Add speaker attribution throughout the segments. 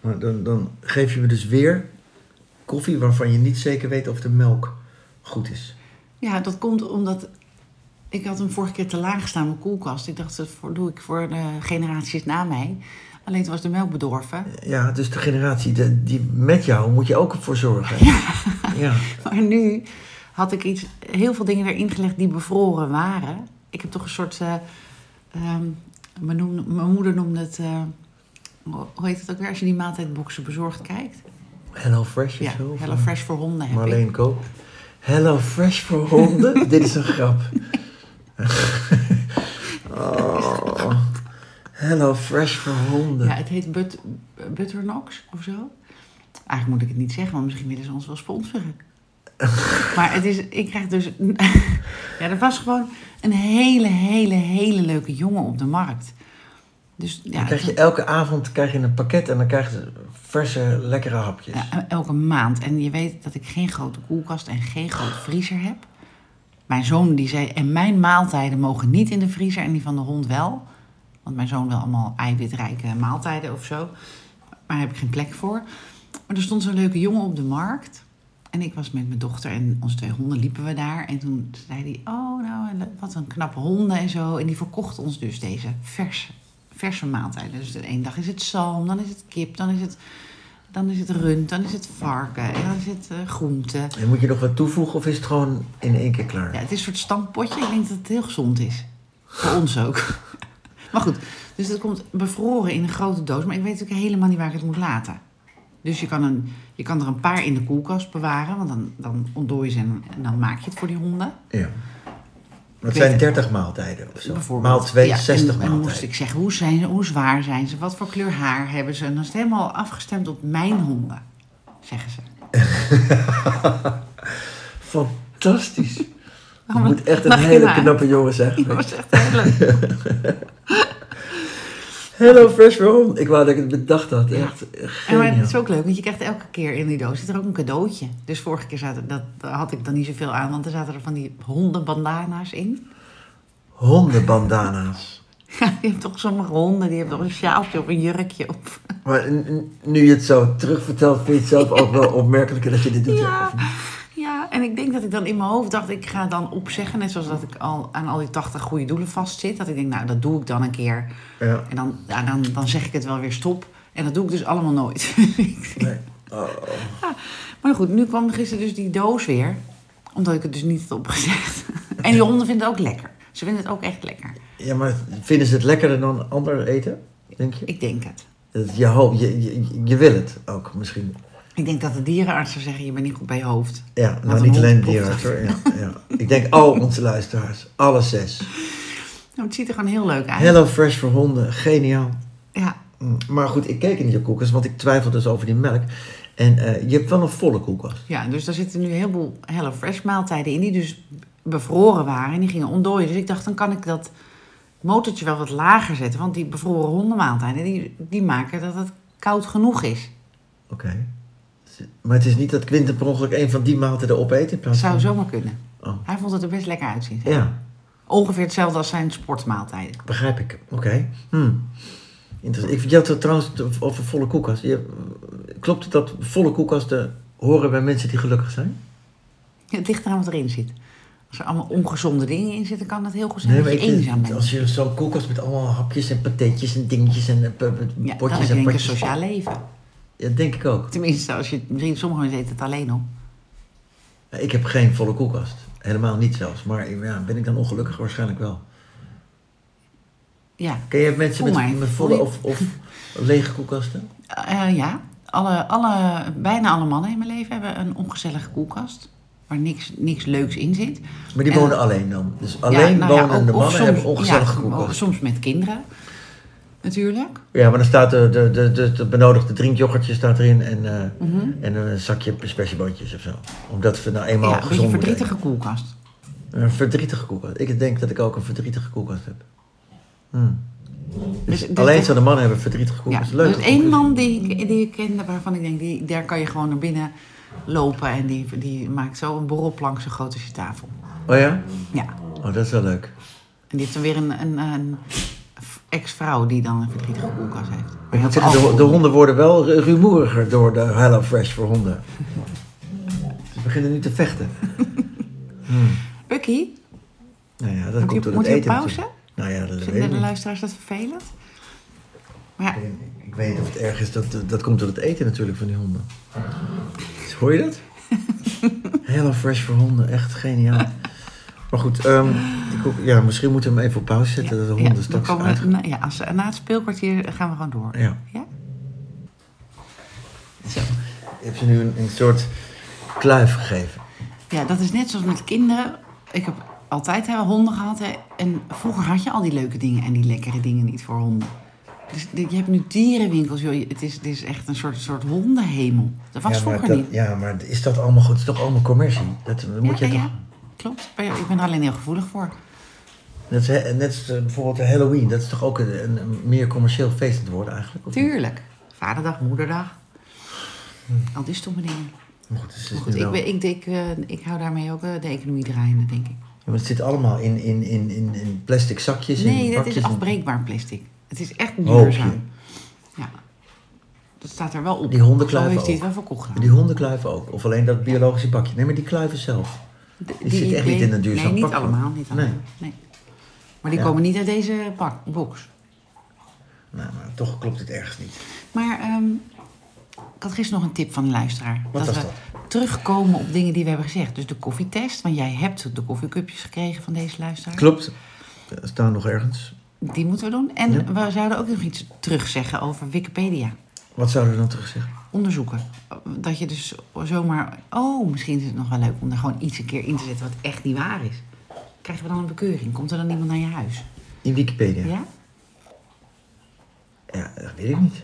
Speaker 1: Maar Dan, dan geef je me dus weer koffie waarvan je niet zeker weet of de melk goed is.
Speaker 2: Ja, dat komt omdat ik had hem vorige keer te laag staan, mijn koelkast. Ik dacht, dat voor- doe ik voor de generaties na mij. Alleen toen was de melk bedorven.
Speaker 1: Ja, dus de generatie de- die met jou moet je ook voor zorgen. Ja.
Speaker 2: Maar nu had ik iets, heel veel dingen erin gelegd die bevroren waren. Ik heb toch een soort. eh, ehm, mijn, noem- mijn moeder noemde het. eh, hoe heet het ook weer? Als je die maaltijdboxen bezorgd kijkt.
Speaker 1: Hello Fresh
Speaker 2: Ja,
Speaker 1: of zo. of,
Speaker 2: Hello
Speaker 1: eh,
Speaker 2: Fresh voor honden heb ik.
Speaker 1: Marleen Koop. Hello Fresh voor honden? Dit is een grap. oh. Hello Fresh voor honden.
Speaker 2: Ja, het heet but, Butternox of zo. Eigenlijk moet ik het niet zeggen, want misschien willen ze ons wel sponsoren. maar het is, ik krijg dus. ja, er was gewoon een hele, hele, hele leuke jongen op de markt. Dus ja,
Speaker 1: dan krijg
Speaker 2: het-
Speaker 1: je elke avond krijg je een pakket en dan krijg je verse, lekkere hapjes.
Speaker 2: ja, en elke maand. En je weet dat ik geen grote koelkast en geen grote vriezer heb. Mijn zoon die zei, en mijn maaltijden mogen niet in de vriezer en die van de hond wel. Want mijn zoon wil allemaal eiwitrijke maaltijden of zo. Maar daar heb ik geen plek voor. Maar er stond zo'n leuke jongen op de markt. En ik was met mijn dochter en onze twee honden liepen we daar. En toen zei hij, oh nou, en wat een knappe honden en zo. En die verkocht ons dus deze verse, verse maaltijden. Dus de ene dag is het zalm, dan is het kip, dan is het, dan is het rund, dan is het varken. En dan is het eh, groente.
Speaker 1: En moet je nog wat toevoegen of is het gewoon in één keer klaar?
Speaker 2: Ja, het is een soort stampotje. Ik denk dat het heel gezond is. Voor ons ook. Maar goed, dus dat komt bevroren in een grote doos. Maar ik weet natuurlijk helemaal niet waar ik het moet laten. Dus je kan, een, je kan er een paar in de koelkast bewaren. Want dan, dan ontdooi je ze en, en dan maak je het voor die honden.
Speaker 1: Ja. Maar
Speaker 2: weet
Speaker 1: het zijn
Speaker 2: het.
Speaker 1: 30 maaltijden of zo.
Speaker 2: Bijvoorbeeld.
Speaker 1: Maal 2,
Speaker 2: Ja, en-
Speaker 1: 60
Speaker 2: en, dan moest
Speaker 1: maaltijden.
Speaker 2: ik zeggen, hoe, zijn ze, hoe zwaar zijn ze? Wat voor kleur haar hebben ze? En dan is het helemaal afgestemd op mijn honden, zeggen ze.
Speaker 1: Fantastisch. Je
Speaker 2: wat
Speaker 1: moet echt een
Speaker 2: lach je
Speaker 1: hele
Speaker 2: nou?
Speaker 1: knappe jongen zijn.
Speaker 2: Dat was echt heel leuk.
Speaker 1: Hello Fresh for Home. Ik wou dat ik het bedacht had. Echt
Speaker 2: Ja, maar
Speaker 1: geniaal.
Speaker 2: het is ook leuk, want je krijgt elke keer in die doos zit er ook een cadeautje. Dus vorige keer zaten, dat, daar had ik dan niet zoveel aan, want er zaten er van die hondenbandana's in.
Speaker 1: Hondenbandana's.
Speaker 2: Ja, je hebt toch sommige honden, die hebben toch een sjaaltje of een jurkje op.
Speaker 1: Maar n- n- nu je het zo terugvertelt, vind je het zelf ook wel opmerkelijker dat je dit doet. hè?
Speaker 2: Ja,
Speaker 1: Of niet?
Speaker 2: ja, en ik denk dat ik dan in mijn hoofd dacht, ik ga dan opzeggen. Net zoals dat ik al aan al die 80 goede doelen vastzit. Dat ik denk, nou, dat doe ik dan een keer.
Speaker 1: Ja.
Speaker 2: En dan, ja, dan, dan zeg ik het wel weer stop. En dat doe ik dus allemaal nooit.
Speaker 1: Nee. Oh.
Speaker 2: Ah, Maar goed, nu kwam gisteren dus die doos weer. Omdat ik het dus niet had opgezegd. En die honden vinden het ook lekker. Ze vinden het ook echt lekker.
Speaker 1: Ja, maar vinden ze het lekkerder dan ander eten? Denk je?
Speaker 2: Ik denk het.
Speaker 1: Dat Je, hoop, je, je, je wil het ook misschien.
Speaker 2: Ik denk dat de dierenarts zou zeggen, je bent niet goed bij je hoofd.
Speaker 1: Ja,
Speaker 2: Laat
Speaker 1: nou
Speaker 2: een
Speaker 1: niet
Speaker 2: hond
Speaker 1: alleen
Speaker 2: proppen.
Speaker 1: dierarts hoor. Ja, ja. Ik denk al onze luisteraars, alle zes.
Speaker 2: Nou, het ziet er gewoon heel leuk uit.
Speaker 1: Hello Fresh voor honden, geniaal.
Speaker 2: Ja,
Speaker 1: Mm, Maar goed, ik keek in je koelkast, want ik twijfel dus over die melk. En eh, je hebt wel een volle koelkast.
Speaker 2: ja, dus daar zitten nu een heleboel HelloFresh maaltijden in. Die dus bevroren waren en die gingen ontdooien. Dus ik dacht, dan kan ik dat motortje wel wat lager zetten. Want die bevroren hondenmaaltijden, die, die maken dat het koud genoeg is.
Speaker 1: Oké. Maar het is niet dat Quinten per ongeluk een van die maaltijden opeet in
Speaker 2: Dat
Speaker 1: plaats
Speaker 2: zou
Speaker 1: van...
Speaker 2: zomaar kunnen.
Speaker 1: Oh.
Speaker 2: Hij vond het er best lekker uitzien.
Speaker 1: Ja,
Speaker 2: Ongeveer hetzelfde als zijn sportmaaltijden.
Speaker 1: begrijp ik. Oké. Hm. Interessant. Ik, je had het trouwens over volle koelkast. Je, klopt het dat volle koelkasten horen bij mensen die gelukkig zijn?
Speaker 2: Het ligt eraan wat erin zit. Als er allemaal ongezonde dingen in zitten, kan dat heel goed zijn
Speaker 1: Nee,
Speaker 2: dat je
Speaker 1: weet je,
Speaker 2: eenzaam bent.
Speaker 1: Als je zo'n koelkast met allemaal hapjes en patatjes en dingetjes en eh, p- p-
Speaker 2: Ja, dan heb
Speaker 1: potjes en
Speaker 2: je denk ik een
Speaker 1: potjes.
Speaker 2: sociaal leven.
Speaker 1: Ja, denk ik ook.
Speaker 2: Tenminste, als je, misschien sommige mensen eten het alleen op.
Speaker 1: Ik heb geen volle koelkast. Helemaal niet zelfs. Maar ja, ben ik dan ongelukkig? Waarschijnlijk wel.
Speaker 2: Ja,
Speaker 1: Ken je mensen
Speaker 2: Kom
Speaker 1: met,
Speaker 2: maar,
Speaker 1: met
Speaker 2: voel
Speaker 1: volle
Speaker 2: je-
Speaker 1: of, of lege koelkasten?
Speaker 2: Eh, ja. Alle, alle, bijna alle mannen in mijn leven hebben een ongezellige koelkast. Waar niks, niks leuks in zit.
Speaker 1: Maar die
Speaker 2: En-
Speaker 1: wonen alleen dan. Dus
Speaker 2: Ja,
Speaker 1: alleen
Speaker 2: nou ja,
Speaker 1: wonen
Speaker 2: ook-
Speaker 1: de
Speaker 2: of
Speaker 1: mannen
Speaker 2: soms-
Speaker 1: hebben ongezellige
Speaker 2: ja,
Speaker 1: koelkasten.
Speaker 2: Soms met kinderen, natuurlijk.
Speaker 1: Ja, maar dan staat de, de, de, de, de benodigde drinkjoghurtje staat erin en, eh, en een zakje perspectiebootjes of zo. Omdat we nou eenmaal
Speaker 2: Mhm. ja, een beetje
Speaker 1: gezond moeten
Speaker 2: verdrietige koelkast.
Speaker 1: eten. Een verdrietige koelkast. Ik denk dat ik ook een verdrietige koelkast heb.
Speaker 2: Dus, dus
Speaker 1: Hmm. alleen
Speaker 2: dat-
Speaker 1: zo de mannen hebben verdrietige
Speaker 2: Ja,
Speaker 1: koelkast.
Speaker 2: er
Speaker 1: Leuk.
Speaker 2: is één man die, ik- die ik kende waarvan ik denk, die, daar kan je gewoon naar binnen lopen. En die, die maakt zo een borrelplank zo groot als je tafel.
Speaker 1: Oh ja?
Speaker 2: Ja.
Speaker 1: Oh, dat is wel leuk.
Speaker 2: En die heeft dan weer een, een, een, ex-vrouw die dan een verdrietige koelkast heeft. Maar
Speaker 1: Ik
Speaker 2: heel
Speaker 1: moet
Speaker 2: veel
Speaker 1: zeggen, de,
Speaker 2: alcohol.
Speaker 1: de honden worden wel ru- rumoeriger door de HelloFresh voor honden. Ze beginnen nu te vechten.
Speaker 2: Bucky,
Speaker 1: Nou ja, dat
Speaker 2: moet
Speaker 1: komt
Speaker 2: je,
Speaker 1: door
Speaker 2: moet
Speaker 1: het
Speaker 2: je
Speaker 1: eten.
Speaker 2: pauze?
Speaker 1: natuurlijk. Nou ja, dat weet
Speaker 2: Vinden
Speaker 1: ik
Speaker 2: de
Speaker 1: niet.
Speaker 2: luisteraars dat vervelend? Maar ja,
Speaker 1: Ik- Ik weet niet of het erg is, dat, dat komt door het eten natuurlijk van die honden. Hoor je dat? Hello fresh voor honden, echt geniaal. Maar goed, ehm, ik hoop- ja, misschien moeten we hem even op pauze zetten, dat de
Speaker 2: ja,
Speaker 1: honden
Speaker 2: dan
Speaker 1: straks
Speaker 2: komen we-
Speaker 1: uit...
Speaker 2: na, ja, als, ze- na het speelkwartier gaan we gewoon door.
Speaker 1: Ja.
Speaker 2: Ja? Zo.
Speaker 1: Je hebt ze nu een, een soort kluif gegeven.
Speaker 2: Ja, dat is net zoals met kinderen. Ik heb altijd hè, honden gehad. Hè. En vroeger had je al die leuke dingen en die lekkere dingen niet voor honden. Dus de- je hebt nu dierenwinkels. Joh. Je- Het, is, het is echt een soort, soort hondenhemel. Dat was
Speaker 1: ja, maar
Speaker 2: vroeger
Speaker 1: dat,
Speaker 2: niet.
Speaker 1: ja, maar is dat allemaal goed? Het is toch allemaal commercie? Dat, dat moet
Speaker 2: ja,
Speaker 1: je
Speaker 2: ja,
Speaker 1: toch...
Speaker 2: ja, klopt. Maar ja, Ik ben er alleen heel gevoelig voor.
Speaker 1: Net, als he- net als eh, bijvoorbeeld de Halloween, dat is toch ook een, een- een meer commercieel feest aan het worden eigenlijk? of niet?
Speaker 2: Tuurlijk. Vaderdag, moederdag. Al die stomme dingen.
Speaker 1: Maar Hm. goed, dus het
Speaker 2: Maar
Speaker 1: is
Speaker 2: goed,
Speaker 1: nu
Speaker 2: ik,
Speaker 1: wel-
Speaker 2: ben- ik, denk, eh, ik hou daarmee ook eh, de economie draaiende, denk ik.
Speaker 1: Ja, maar het zit allemaal in, in, in, in, in plastic zakjes.
Speaker 2: Nee,
Speaker 1: in Oh,
Speaker 2: dat is
Speaker 1: bakjes en-
Speaker 2: afbreekbaar plastic. Het is echt
Speaker 1: Hoopje.
Speaker 2: duurzaam. Ja. Dat staat er wel op.
Speaker 1: Die hondenkluif
Speaker 2: Zo heeft hij het
Speaker 1: ook.
Speaker 2: wel verkocht.
Speaker 1: Die hondenkluif ook. Of alleen dat biologische pakje. Nee, maar die kluiven zelf.
Speaker 2: Die,
Speaker 1: zit echt niet in een duurzaam
Speaker 2: Nee, niet
Speaker 1: pak, hoor.
Speaker 2: allemaal. Niet allemaal.
Speaker 1: Nee.
Speaker 2: Nee. Maar die
Speaker 1: Ja.
Speaker 2: komen niet uit deze pak, box.
Speaker 1: Nou, maar toch klopt het ergens niet.
Speaker 2: Maar ehm, ik had gisteren nog een tip van een luisteraar.
Speaker 1: Wat was
Speaker 2: we terugkomen op dingen die we hebben gezegd. Dus de koffietest, want jij hebt de koffiecupjes gekregen van deze luisteraar.
Speaker 1: Klopt. Er Staan nog ergens.
Speaker 2: Die moeten we doen. En we zouden ook nog iets terugzeggen over Wikipedia.
Speaker 1: Wat zouden we dan terug zeggen?
Speaker 2: onderzoeken. Dat je dus zomaar, oh, misschien is het nog wel leuk om daar gewoon iets een keer in te zetten wat echt niet waar is. Krijgen we dan een bekeuring? Komt er dan iemand naar je huis?
Speaker 1: In Wikipedia?
Speaker 2: Ja?
Speaker 1: Ja, dat weet ik niet.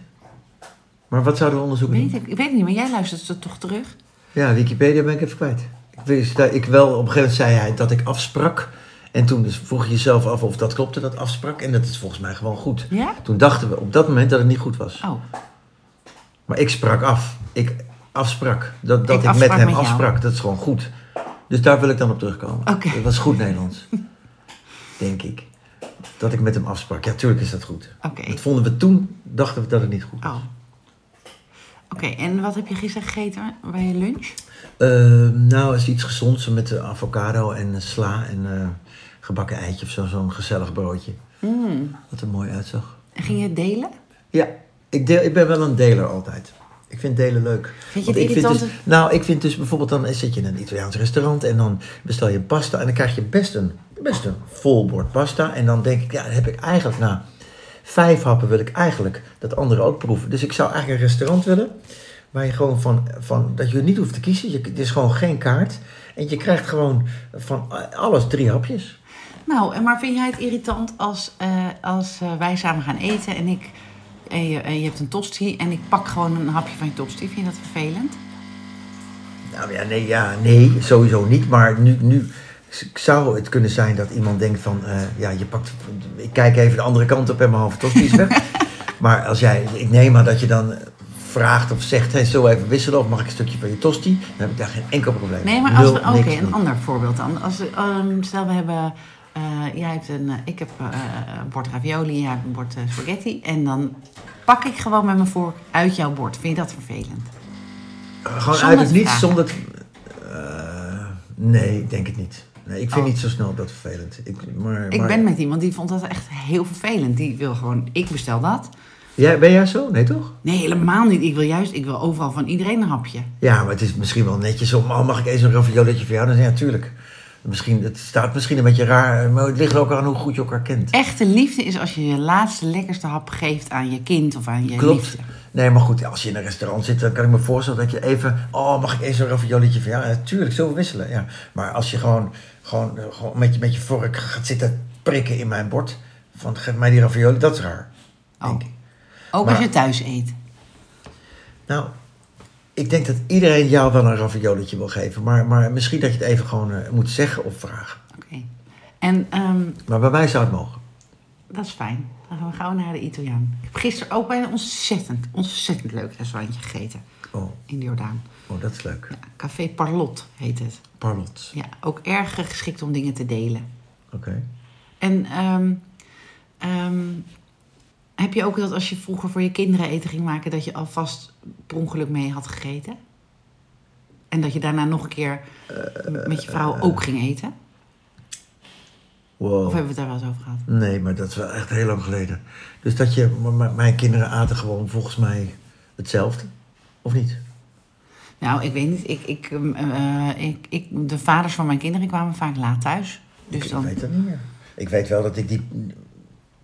Speaker 1: Maar wat zouden we onderzoeken?
Speaker 2: Weet ik, ik weet het niet, maar jij luistert het toch terug?
Speaker 1: Ja, Wikipedia ben ik even kwijt. Ik, wist, dat ik wel, op een gegeven moment zei hij dat ik afsprak. En toen dus vroeg je jezelf af of dat klopte, dat afsprak. En dat is volgens mij gewoon goed.
Speaker 2: Ja?
Speaker 1: Toen dachten we op dat moment dat het niet goed was.
Speaker 2: Oh,
Speaker 1: Maar ik sprak af. Ik afsprak. Dat, dat
Speaker 2: Ik
Speaker 1: ik, met
Speaker 2: afsprak
Speaker 1: hem
Speaker 2: met jou.
Speaker 1: afsprak. Dat is gewoon goed. Dus daar wil ik dan op terugkomen.
Speaker 2: Oké.
Speaker 1: Dat was goed Nederlands. Denk ik. Dat ik met hem afsprak. Ja, tuurlijk is dat goed.
Speaker 2: Oké.
Speaker 1: Dat vonden we toen, dachten we dat het niet goed was.
Speaker 2: oh. Oké, en wat heb je gisteren gegeten bij je lunch?
Speaker 1: Eh, nou, is iets gezonds met eh, avocado en eh, sla en eh, gebakken eitje of zo. Zo'n gezellig broodje.
Speaker 2: Hmm.
Speaker 1: Wat er mooi uitzag.
Speaker 2: En Ging je het delen?
Speaker 1: Ja, ik, deel, ik ben wel een deler altijd. Ik vind delen leuk.
Speaker 2: Vind je
Speaker 1: Want
Speaker 2: het
Speaker 1: ik vind dus,
Speaker 2: irritant
Speaker 1: Nou, ik vind dus bijvoorbeeld dan zit je in een Italiaans restaurant en dan bestel je pasta en dan krijg je best een, best een vol bord pasta. En dan denk ik, ja, dan heb ik eigenlijk na vijf happen wil ik eigenlijk dat anderen ook proeven. Dus ik zou eigenlijk een restaurant willen waar je gewoon van, van dat je niet hoeft te kiezen. Je, het is gewoon geen kaart en je krijgt gewoon van eh, alles drie hapjes.
Speaker 2: Nou, en maar vind jij het irritant als, eh, als eh, wij samen gaan eten en ik... En je, en je hebt een tosti en ik pak gewoon een hapje van je tosti. Vind je dat vervelend?
Speaker 1: Nou ja, nee, ja, nee sowieso niet. Maar nu, nu s- zou het kunnen zijn dat iemand denkt van... eh, ja, je pakt... Ik kijk even de andere kant op en mijn halve tosti is weg. maar als jij... Ik neem aan dat je dan eh, vraagt of zegt... Hey, zullen we even wisselen of mag ik een stukje van je tosti? Dan heb ik daar geen enkel probleem mee.
Speaker 2: Nee, maar als we,
Speaker 1: Nul,
Speaker 2: oké,
Speaker 1: niks,
Speaker 2: een
Speaker 1: niks.
Speaker 2: ander voorbeeld dan. Als, we, ehm, stel, we hebben, eh, jij hebt een, eh, ik heb eh, een bord ravioli en jij hebt een bord eh, spaghetti. En dan pak ik gewoon met mijn vork uit jouw bord. Vind je dat vervelend?
Speaker 1: Gewoon
Speaker 2: Zonder
Speaker 1: uit het
Speaker 2: te
Speaker 1: niets,
Speaker 2: vragen.
Speaker 1: zonder... eh, nee, ik denk het niet. Nee, ik vind
Speaker 2: Oh.
Speaker 1: niet zo snel dat vervelend. Ik, maar,
Speaker 2: Ik
Speaker 1: maar-
Speaker 2: ben met iemand die vond dat echt heel vervelend. Die wil gewoon, ik bestel dat.
Speaker 1: Jij, ben jij zo? Nee, toch?
Speaker 2: Nee, helemaal niet. Ik wil juist, ik wil overal van iedereen een hapje.
Speaker 1: Ja, maar het is misschien wel netjes om... Oh, mag ik eens een ravioletje voor jou? Dan zeg je, ja, tuurlijk. Misschien, het staat misschien een beetje raar, maar het ligt er ook aan hoe goed je elkaar kent.
Speaker 2: Echte liefde is als je je laatste lekkerste hap geeft aan je kind of aan je
Speaker 1: Klopt.
Speaker 2: liefde.
Speaker 1: Nee, maar goed, als je in een restaurant zit, dan kan ik me voorstellen dat je even... Oh, mag ik eens een ravioletje voor jou? Ja, tuurlijk, zo wisselen, ja. Maar als je gewoon, gewoon, eh, gewoon met, je, met je vork gaat zitten prikken in mijn bord... van geef mij die ravioli, dat is raar.
Speaker 2: Oh.
Speaker 1: denk ik.
Speaker 2: Ook
Speaker 1: Maar-
Speaker 2: als je thuis eet.
Speaker 1: Nou, ik denk dat iedereen jou wel een ravioletje wil geven... maar, maar misschien dat je het even gewoon eh, moet zeggen of vragen.
Speaker 2: Oké. En ehm,
Speaker 1: Maar bij mij zou het mogen.
Speaker 2: Dat is fijn. Dan gaan we gauw naar de Italiaan. Ik heb gisteren ook bij een ontzettend, ontzettend leuk restaurantje gegeten.
Speaker 1: Oh,
Speaker 2: In de Jordaan.
Speaker 1: oh dat is leuk.
Speaker 2: Ja, Café Parlot heet het.
Speaker 1: Parlot.
Speaker 2: Ja, ook erg geschikt om dingen te delen.
Speaker 1: Oké.
Speaker 2: En ehm, ehm, Heb je ook dat als je vroeger voor je kinderen eten ging maken, dat je alvast per ongeluk mee had gegeten? En dat je daarna nog een keer m- met je vrouw ook ging eten? Of
Speaker 1: Wow.
Speaker 2: hebben we het daar wel eens over gehad?
Speaker 1: Nee, maar dat is wel echt heel lang geleden. Dus dat je, m- m- mijn kinderen aten gewoon volgens mij hetzelfde. Of niet?
Speaker 2: Nou, ik weet niet. Ik, ik, ehm, eh, ik, ik, de vaders van mijn kinderen kwamen vaak laat thuis. Dus
Speaker 1: ik
Speaker 2: dan.
Speaker 1: weet dat niet meer. Ik weet wel dat ik die...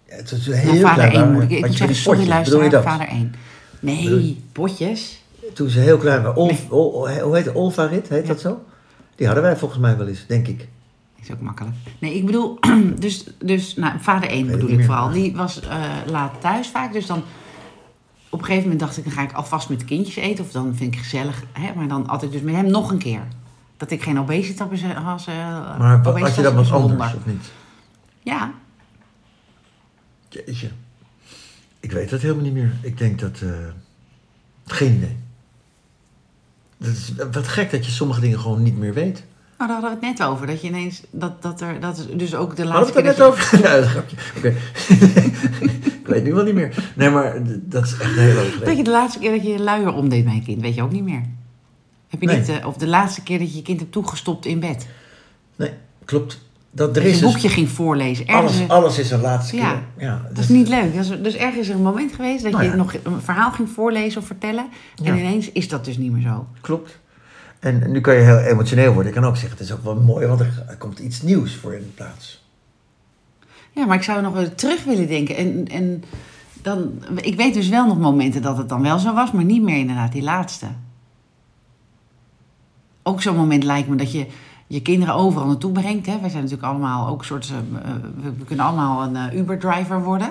Speaker 1: Het is heel
Speaker 2: Nou, vader
Speaker 1: klein.
Speaker 2: 1
Speaker 1: waren,
Speaker 2: moet ik, ik
Speaker 1: had
Speaker 2: moet
Speaker 1: je van
Speaker 2: zeggen,
Speaker 1: die
Speaker 2: sorry
Speaker 1: potjes, bedoel je
Speaker 2: luisteraar,
Speaker 1: dat?
Speaker 2: vader 1.
Speaker 1: Bedoel
Speaker 2: Nee,
Speaker 1: je-
Speaker 2: potjes.
Speaker 1: Toen ze heel klein waren, Olf, Ol- Ol- hoe heet het, Olvarit, heet dat zo? Die hadden wij volgens mij wel eens, denk ik.
Speaker 2: Is ook makkelijk. Nee, ik bedoel, dus, dus nou, vader 1
Speaker 1: het
Speaker 2: bedoel
Speaker 1: niet
Speaker 2: ik
Speaker 1: meer.
Speaker 2: vooral. Die was eh, laat thuis vaak. Dus dan op een gegeven moment dacht ik, dan ga ik alvast met de kindjes eten. Of dan vind ik gezellig. Hè? Maar dan altijd dus met hem nog een keer. Dat ik geen obesitas was. eh,
Speaker 1: Maar wa-
Speaker 2: obesitas
Speaker 1: had je dat
Speaker 2: was
Speaker 1: wat anders,
Speaker 2: wonder.
Speaker 1: of niet?
Speaker 2: Ja,
Speaker 1: Jeetje. Ik weet dat helemaal niet meer. Ik denk dat... eh, geen idee. Dat is eh, wat gek dat je sommige dingen gewoon niet meer weet.
Speaker 2: nou, daar hadden we het net over. Dat je ineens, dat, dat er, dat is dus ook de
Speaker 1: Hadden
Speaker 2: laatste
Speaker 1: we het
Speaker 2: keer
Speaker 1: er net
Speaker 2: dat je-
Speaker 1: over? Nee, dat is een grapje. Oké. ik weet nu wel niet meer. Nee, maar d- dat is echt heel leuk.
Speaker 2: Dat je de laatste keer dat je je luier omdeed bij je kind, weet je ook niet meer. Heb je
Speaker 1: Nee.
Speaker 2: niet, eh, of de laatste keer dat je je kind hebt toegestopt in bed.
Speaker 1: Nee, klopt. Dat, er
Speaker 2: Dat je
Speaker 1: is
Speaker 2: een
Speaker 1: dus-
Speaker 2: boekje ging voorlezen. Ergens,
Speaker 1: alles, alles is een laatste keer.
Speaker 2: Ja.
Speaker 1: Ja,
Speaker 2: dat
Speaker 1: dus-
Speaker 2: is niet leuk. Dat is- dus ergens is er een moment geweest dat
Speaker 1: Nou ja.
Speaker 2: je nog een verhaal ging voorlezen of vertellen.
Speaker 1: Ja.
Speaker 2: En ineens is dat dus niet meer zo.
Speaker 1: Klopt. En nu kan je heel emotioneel worden. Ik kan ook zeggen, het is ook wel mooi, want er er komt iets nieuws voor in de plaats.
Speaker 2: Ja, maar ik zou nog wel terug willen denken. En, en dan, ik weet dus wel nog momenten dat het dan wel zo was, maar niet meer inderdaad die laatste. Ook zo'n moment lijkt me dat je je kinderen overal naartoe brengt. Hè? Wij zijn natuurlijk allemaal ook een soort. eh, eh, we, we kunnen allemaal een eh, Uber-driver worden.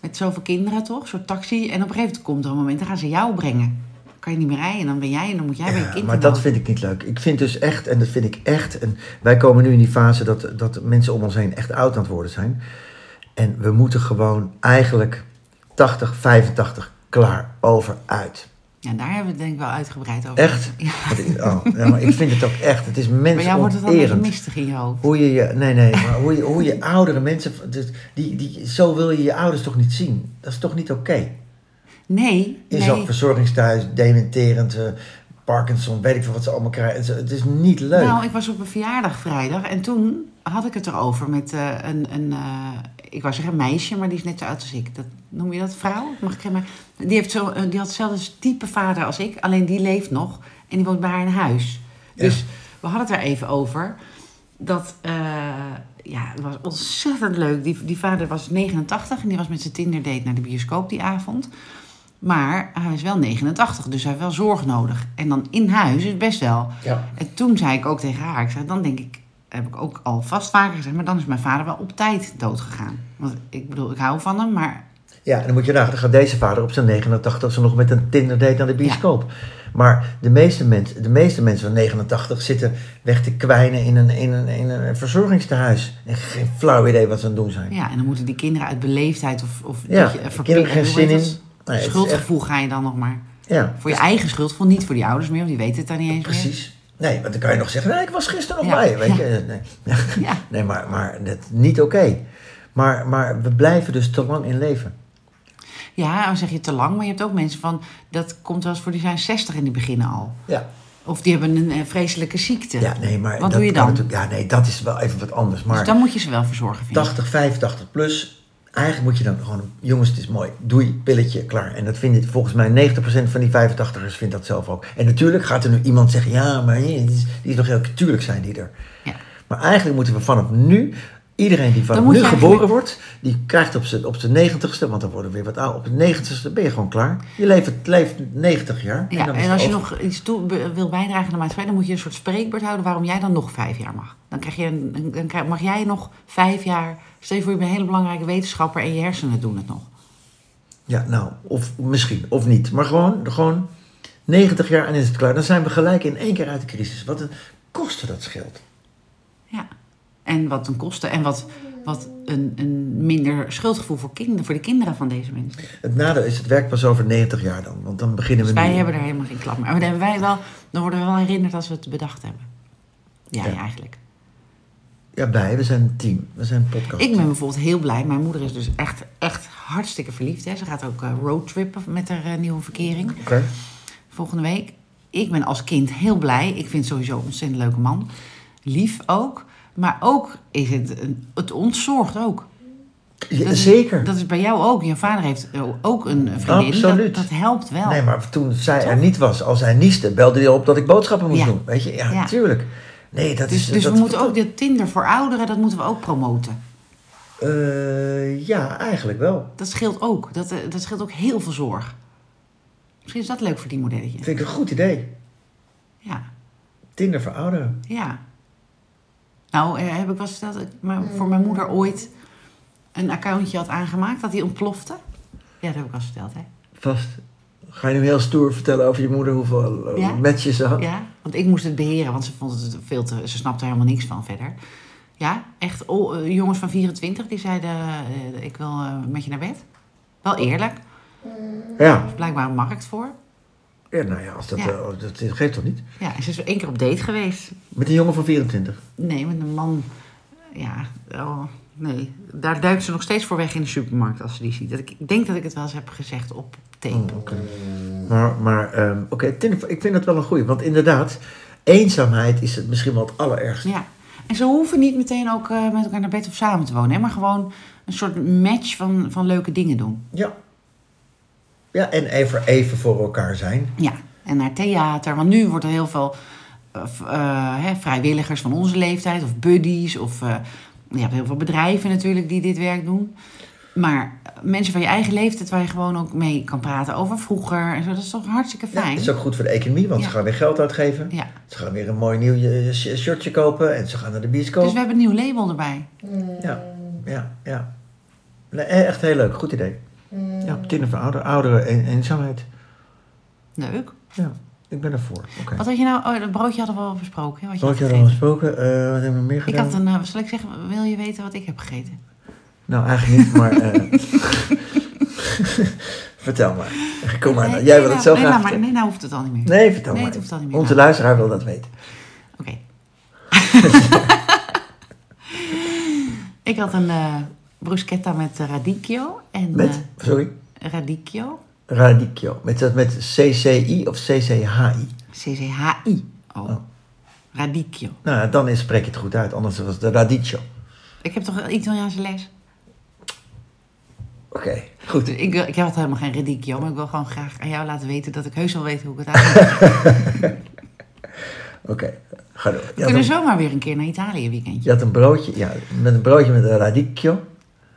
Speaker 2: Met zoveel kinderen toch? Een soort taxi. En op een gegeven moment komt er een moment, dan gaan ze jou brengen. Dan kan je niet meer rijden, dan ben jij en dan moet jij bij je
Speaker 1: Ja,
Speaker 2: kind.
Speaker 1: maar dat vind ik niet leuk. Ik vind dus echt, en dat vind ik echt, en wij komen nu in die fase dat, dat mensen om ons heen echt oud aan het worden zijn. En we moeten gewoon eigenlijk 80, 85 klaar over uit.
Speaker 2: Ja, daar hebben we het denk ik wel uitgebreid over.
Speaker 1: Echt?
Speaker 2: Ja.
Speaker 1: Want ik- oh, ja, maar ik vind het ook echt. Het is
Speaker 2: Bij jou wordt het al een beetje
Speaker 1: mensonterend.
Speaker 2: mistig in je hoofd.
Speaker 1: Hoe je je, nee, nee, maar hoe je, hoe je oudere mensen, dus die, die, zo wil je je ouders toch niet zien? Dat is toch niet oké?
Speaker 2: Nee,
Speaker 1: In
Speaker 2: nee.
Speaker 1: zo'n verzorgingstehuis, dementerend, eh, Parkinson, weet ik veel wat ze allemaal krijgen. Het is, het is niet leuk.
Speaker 2: Nou, ik was op een verjaardag vrijdag en toen had ik het erover met eh, een, een eh, ik was zeggen een meisje, maar die is net zo oud als ik. Dat, noem je dat vrouw? Mag ik maar die, heeft zo, eh, die had hetzelfde type vader als ik, alleen die leeft nog en die woont bij haar in huis.
Speaker 1: Ja.
Speaker 2: Dus we hadden het daar even over. Dat, eh, ja, het was ontzettend leuk. Die, die vader was 89 en die was met zijn Tinder-date naar de bioscoop die avond. Maar hij is wel 89, dus hij heeft wel zorg nodig. En dan in huis is best wel.
Speaker 1: ja.
Speaker 2: En toen zei ik ook tegen haar, ik zei, dan denk ik, heb ik ook al vast vaker gezegd, maar dan is mijn vader wel op tijd doodgegaan. Want ik bedoel, ik hou van hem, maar
Speaker 1: ja, en dan moet je nagaan, dan gaat deze vader op zijn 89 ze nog met een Tinder date naar de bioscoop. Maar de meeste, mensen, de meeste mensen van 89 zitten weg te kwijnen in een, in een, in een verzorgingstehuis. En geen flauw idee wat ze aan het doen zijn.
Speaker 2: ja, en dan moeten die kinderen uit beleefdheid of, of
Speaker 1: Ja,
Speaker 2: dat je, eh,
Speaker 1: de
Speaker 2: verpli-
Speaker 1: kinderen geen
Speaker 2: hoe heet
Speaker 1: zin
Speaker 2: dat?
Speaker 1: in. Nee, het is
Speaker 2: Schuldgevoel ga je dan nog maar.
Speaker 1: Ja,
Speaker 2: Voor je eigen schuldgevoel, niet voor die ouders meer, want die weten het dan niet eens
Speaker 1: precies. Nee, want dan kan je nog zeggen, nee, ik was gisteren nog
Speaker 2: Ja.
Speaker 1: bij. Weet
Speaker 2: Ja.
Speaker 1: je? Nee.
Speaker 2: meer. Ja.
Speaker 1: Nee, maar, maar dat is niet oké. Maar, maar we blijven dus te lang in leven.
Speaker 2: ja, dan zeg je te lang, maar je hebt ook mensen van, dat komt wel eens voor, die zijn 60 en die beginnen al.
Speaker 1: Ja.
Speaker 2: Of die hebben een eh, vreselijke ziekte.
Speaker 1: Ja, nee, maar
Speaker 2: Wat
Speaker 1: dat
Speaker 2: doe je
Speaker 1: kan
Speaker 2: dan?
Speaker 1: natuurlijk- Ja, nee, dat is wel even wat anders. Maar
Speaker 2: Dus dan moet je ze wel verzorgen, vind ik.
Speaker 1: 80, 85 plus, eigenlijk moet je dan gewoon... Jongens, het is mooi. Doei, pilletje, klaar. En dat vindt volgens mij 90% van die 85ers vindt dat zelf ook. En natuurlijk gaat er nu iemand zeggen... Ja, maar die is, die is nog heel... Tuurlijk zijn die er.
Speaker 2: Ja.
Speaker 1: Maar eigenlijk moeten we vanaf nu... Iedereen die vanaf
Speaker 2: Dan moet
Speaker 1: nu
Speaker 2: je
Speaker 1: geboren
Speaker 2: eigenlijk-
Speaker 1: wordt, die krijgt op zijn op zijn negentigste, want dan worden we weer wat oud. Op zijn negentigste ben je gewoon klaar. Je leeft, leeft 90 jaar.
Speaker 2: Ja,
Speaker 1: dan
Speaker 2: en,
Speaker 1: is het
Speaker 2: als je
Speaker 1: over.
Speaker 2: nog iets toe be- wil bijdragen aan de maatschappij, dan moet je een soort spreekbeurt houden waarom jij dan nog vijf jaar mag. Dan, krijg je een, een- dan krijg- mag jij nog vijf jaar. Stel je voor, je bent een hele belangrijke wetenschapper en je hersenen doen het nog.
Speaker 1: Ja, nou, of misschien, of niet. Maar gewoon, gewoon 90 jaar en is het klaar. Dan zijn we gelijk in één keer uit de crisis. Wat een kosten dat scheelt.
Speaker 2: Ja. En wat een kosten en wat, wat een, een minder schuldgevoel voor, kinderen, voor de kinderen van deze mensen.
Speaker 1: Het nadeel is, het werkt pas over 90 jaar dan. Want dan beginnen we
Speaker 2: Dus wij
Speaker 1: nu.
Speaker 2: hebben er helemaal geen klap mee. Maar dan, hebben wij wel, dan worden we wel herinnerd als we het bedacht hebben. Ja,
Speaker 1: Ja.
Speaker 2: eigenlijk.
Speaker 1: Ja, bij. We zijn een team. We zijn een podcast.
Speaker 2: Ik ben bijvoorbeeld heel blij. Mijn moeder is dus echt, echt hartstikke verliefd. Hè. Ze gaat ook eh, roadtrippen met haar eh, nieuwe verkering
Speaker 1: Oké.
Speaker 2: volgende week. Ik ben als kind heel blij. Ik vind sowieso een ontzettend leuke man. Lief ook. Maar ook is het, een- het ontzorgt ook.
Speaker 1: Ja,
Speaker 2: Dat is-
Speaker 1: zeker.
Speaker 2: Dat is bij jou ook. Je vader heeft eh, ook een vriendin.
Speaker 1: Absoluut.
Speaker 2: Dat, dat helpt wel.
Speaker 1: Nee, maar toen zij er niet was, als hij nieste, belde hij op dat ik boodschappen moest
Speaker 2: Ja.
Speaker 1: doen. Weet je, ja,
Speaker 2: Ja.
Speaker 1: natuurlijk. Nee, dat
Speaker 2: dus
Speaker 1: is...
Speaker 2: dus
Speaker 1: dat,
Speaker 2: we moeten ook dit Tinder voor ouderen, dat moeten we ook promoten.
Speaker 1: Eh, ja, eigenlijk wel.
Speaker 2: Dat scheelt ook. Dat, eh, dat scheelt ook heel veel zorg. Misschien is dat leuk voor die modelletje.
Speaker 1: Vind ik een goed idee.
Speaker 2: Ja,
Speaker 1: Tinder voor ouderen.
Speaker 2: ja. Nou, eh, heb ik wel eens verteld dat ik maar voor mijn moeder ooit een accountje had aangemaakt, dat die ontplofte? Ja, dat heb ik al eens verteld, hè?
Speaker 1: Vast. Ga je nu heel stoer vertellen over je moeder hoeveel eh,
Speaker 2: Ja?
Speaker 1: matches ze had?
Speaker 2: Ja, want ik moest het beheren, want ze vond het veel te. Ze snapte er helemaal niks van verder. Ja, echt oh, eh, jongens van 24 die zeiden: eh, Ik wil eh, met je naar bed. Wel eerlijk, er
Speaker 1: Ja.
Speaker 2: is blijkbaar een markt voor.
Speaker 1: Ja, nou ja, als dat,
Speaker 2: Ja.
Speaker 1: eh, dat geeft toch niet?
Speaker 2: Ja, en ze is één keer op date geweest.
Speaker 1: Met een jongen van 24.
Speaker 2: Nee, met een man. Ja, oh, nee. Daar duikt ze nog steeds voor weg in de supermarkt als ze die ziet. Dat ik, ik denk dat ik het wel eens heb gezegd op tape.
Speaker 1: Oh. Maar, maar ehm, oké, Tinder voor- ik vind dat wel een goeie. Want inderdaad, eenzaamheid is het misschien wel het allerergste.
Speaker 2: Ja. En ze hoeven niet meteen ook eh, met elkaar naar bed of samen te wonen, hè, maar gewoon een soort match van, van leuke dingen doen.
Speaker 1: Ja. Ja, en even, even voor elkaar zijn.
Speaker 2: Ja, en naar theater. Want nu wordt er heel veel eh, v- eh, hè, vrijwilligers van onze leeftijd of buddies. Of eh, je hebt heel veel bedrijven natuurlijk die dit werk doen. Maar eh, mensen van je eigen leeftijd waar je gewoon ook mee kan praten over vroeger. En zo, dat is toch hartstikke
Speaker 1: Ja,
Speaker 2: fijn.
Speaker 1: dat is ook goed voor de economie, want
Speaker 2: Ja.
Speaker 1: ze gaan weer geld uitgeven.
Speaker 2: Ja.
Speaker 1: Ze gaan weer een mooi nieuw eh, sh- shirtje kopen en ze gaan naar de bioscoop.
Speaker 2: Dus we hebben een nieuw label erbij.
Speaker 1: Ja,
Speaker 2: Ehm.
Speaker 1: ja, ja. Nee, e- echt heel leuk, goed idee.
Speaker 2: Ehm.
Speaker 1: Ja, Tinder voor ouder, ouderen en eenzaamheid.
Speaker 2: Leuk.
Speaker 1: Ja, ik ben ervoor. Oké.
Speaker 2: Wat had je nou? Oh, dat broodje hadden we al besproken. hè, Wat je
Speaker 1: Zal ik
Speaker 2: had
Speaker 1: jou al
Speaker 2: gegeten.
Speaker 1: gesproken? Eh, wat hebben we meer
Speaker 2: ik
Speaker 1: gedaan?
Speaker 2: had een, eh, zal ik zeggen, wil je weten wat ik heb gegeten?
Speaker 1: Nou, eigenlijk niet, maar... eh, vertel maar. Kom maar,
Speaker 2: Nee,
Speaker 1: nou. jij wil
Speaker 2: nee,
Speaker 1: het
Speaker 2: nou,
Speaker 1: zo graag
Speaker 2: nee, nou, maar,
Speaker 1: vertellen.
Speaker 2: nee, nou hoeft het al niet meer.
Speaker 1: Nee, vertel
Speaker 2: Nee,
Speaker 1: maar.
Speaker 2: het hoeft al niet meer.
Speaker 1: Onze
Speaker 2: Nou,
Speaker 1: luisteraar wil dat weten.
Speaker 2: Oké. ik had een eh, bruschetta met eh, radicchio. En,
Speaker 1: Met, sorry,
Speaker 2: eh, radicchio.
Speaker 1: radicchio. Met, dat met CCI of CCHI.
Speaker 2: C-C-H-I. Oh. Radicchio.
Speaker 1: Nou, ja, dan is- spreek je het goed uit, anders was het de radicchio.
Speaker 2: Ik heb toch wel Italiaanse les?
Speaker 1: Oké, goed.
Speaker 2: Dus ik, wil- ik had helemaal geen radicchio, maar ik wil gewoon graag aan jou laten weten dat ik heus wel weet hoe ik het aan
Speaker 1: Oké, ga door. Je
Speaker 2: We
Speaker 1: had,
Speaker 2: kunnen
Speaker 1: een,
Speaker 2: zomaar weer een keer naar Italië weekendje.
Speaker 1: je had een broodje, ja, met een broodje met een radicchio.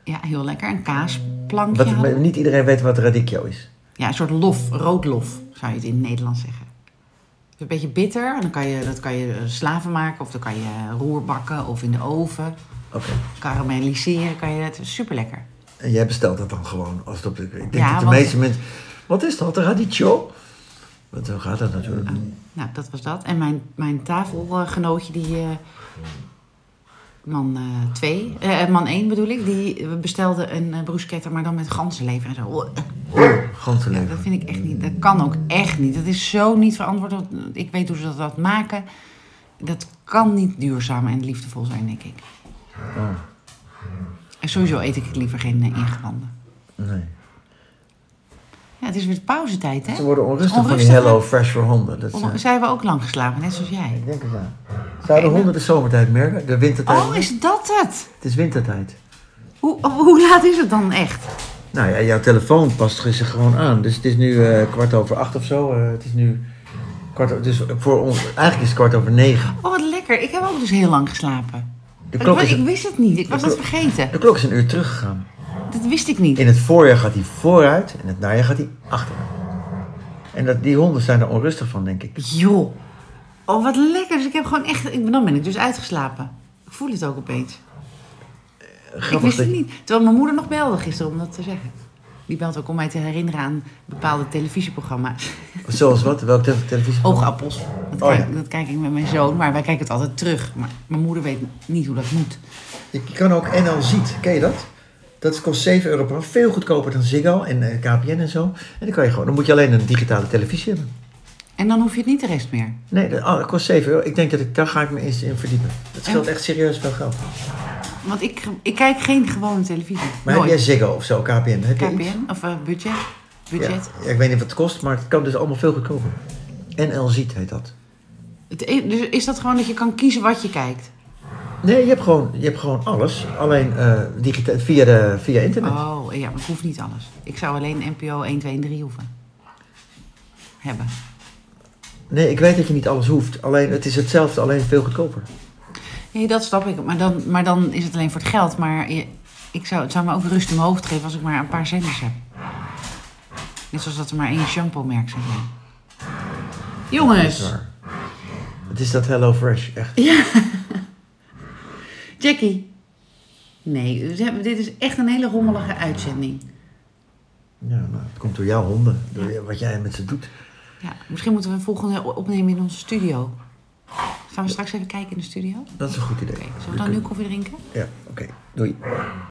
Speaker 2: Ja, heel lekker. Een kaasplankje.
Speaker 1: Wat,
Speaker 2: hadden we.
Speaker 1: niet iedereen weet wat radicchio is.
Speaker 2: Ja, een soort lof, rood lof, zou je het in het Nederlands zeggen. Het is Een beetje bitter, en dan kan je, dat kan je eh, slaven maken, of dan kan je roer bakken, of in de oven.
Speaker 1: Oké.
Speaker 2: Karamelliseren kan je het, super lekker.
Speaker 1: En jij bestelt dat dan gewoon als het op de. Ik denk
Speaker 2: Ja,
Speaker 1: dat de
Speaker 2: want-
Speaker 1: meeste mensen. Wat is dat, radicchio? Want zo gaat dat natuurlijk.
Speaker 2: Nou, dat was dat. En mijn, mijn tafelgenootje, die eh, man eh, 2, man 1 bedoel ik, die bestelde een eh, bruschetta, maar dan met ganzenlever en zo. Ja,
Speaker 1: Ganzenlever.
Speaker 2: dat vind ik echt niet. Dat kan ook echt niet. Dat is zo niet verantwoord. want Ik weet hoe ze dat, dat maken. Dat kan niet duurzaam en liefdevol zijn, denk ik.
Speaker 1: Oh.
Speaker 2: En sowieso eet ik liever geen eh, ingewanden.
Speaker 1: Nee.
Speaker 2: Ja, het is weer pauzetijd, hè?
Speaker 1: Ze worden onrustig, van
Speaker 2: Onrustig,
Speaker 1: die Hello Fresh voor honden. Dat is,
Speaker 2: hè?
Speaker 1: eh,
Speaker 2: Om- Zij hebben ook lang geslapen, net zoals jij.
Speaker 1: ik denk het ja. Zouden honden de zomertijd merken? De wintertijd?
Speaker 2: Oh, is dat het?
Speaker 1: Het is wintertijd.
Speaker 2: Hoe, oh, hoe laat is het dan echt?
Speaker 1: Nou ja, jouw telefoon past zich gewoon aan. Dus het is nu eh, kwart over acht of zo. Eh, het is nu kwart over, dus voor ons, eigenlijk is het kwart over negen.
Speaker 2: Oh, wat lekker. Ik heb ook dus heel lang geslapen.
Speaker 1: De
Speaker 2: Ik,
Speaker 1: klok,
Speaker 2: wa-
Speaker 1: is,
Speaker 2: ik wist het niet. Ik was dat
Speaker 1: klok-
Speaker 2: vergeten.
Speaker 1: de klok is een uur teruggegaan.
Speaker 2: Dat wist ik niet.
Speaker 1: In het voorjaar gaat hij vooruit en in het najaar gaat hij achteruit. En dat, die honden zijn er onrustig van, denk ik.
Speaker 2: Joh. Oh, wat lekker. Dus ik heb gewoon echt... Ik, dan ben ik dus uitgeslapen. Ik voel het ook opeens.
Speaker 1: Grappig
Speaker 2: Ik wist
Speaker 1: dat
Speaker 2: het
Speaker 1: je-
Speaker 2: niet. Terwijl mijn moeder nog belde gisteren om dat te zeggen. Die belt ook om mij te herinneren aan bepaalde televisieprogramma's.
Speaker 1: Zoals wat? Welk te- televisie?
Speaker 2: Oogappels. Dat,
Speaker 1: Oh,
Speaker 2: kijk,
Speaker 1: ja.
Speaker 2: dat kijk ik met mijn zoon, maar wij kijken het altijd terug. Maar mijn moeder weet niet hoe dat moet.
Speaker 1: Je kan ook NL Ziet, ken je dat? Dat kost 7 euro per maand. Veel goedkoper dan Ziggo en eh, KPN en zo. En dan, kan je gewoon, dan moet je alleen een digitale televisie hebben.
Speaker 2: En dan hoef je het niet de rest meer.
Speaker 1: Nee, dat, oh, dat kost 7 euro. Ik denk dat ik, daar ga ik me eens in verdiepen. Dat scheelt echt serieus veel geld.
Speaker 2: Want ik, ik kijk geen gewone televisie.
Speaker 1: Maar
Speaker 2: Nooit.
Speaker 1: heb jij Ziggo of zo, KPN? Heb je iets?
Speaker 2: KPN of eh, budget. Budget.
Speaker 1: Ja, ik weet niet wat het kost, maar het kan dus allemaal veel goedkoper. NLZiet heet dat.
Speaker 2: Het e- dus is dat gewoon dat je kan kiezen wat je kijkt?
Speaker 1: Nee, je hebt gewoon, je hebt gewoon alles. Alleen eh, digita- via, de, via internet.
Speaker 2: Oh, ja, maar ik hoef niet alles. Ik zou alleen NPO 1, 2 en 3 hoeven. Hebben.
Speaker 1: Nee, ik weet dat je niet alles hoeft. Alleen het is hetzelfde, alleen veel goedkoper.
Speaker 2: Nee, dat snap ik. Maar dan, maar dan is het alleen voor het geld. Maar je- ik zou, het zou me ook rust in mijn hoofd geven als ik maar een paar zenders heb. Net zoals dat er maar één shampoo-merk zou zijn.
Speaker 1: Dat is
Speaker 2: Jongens,
Speaker 1: waar. Het is dat Hello Fresh, echt.
Speaker 2: Jackie. Nee, we hebben- dit is echt een hele rommelige uitzending.
Speaker 1: Ja, nou, het komt door jouw honden, door wat jij met ze doet.
Speaker 2: Ja, misschien moeten we een volgende opnemen in onze studio. Gaan we straks even kijken in de studio? Oké,
Speaker 1: Dat is een goed idee.
Speaker 2: zullen we dan nu koffie drinken?
Speaker 1: Ja, oké. Doei.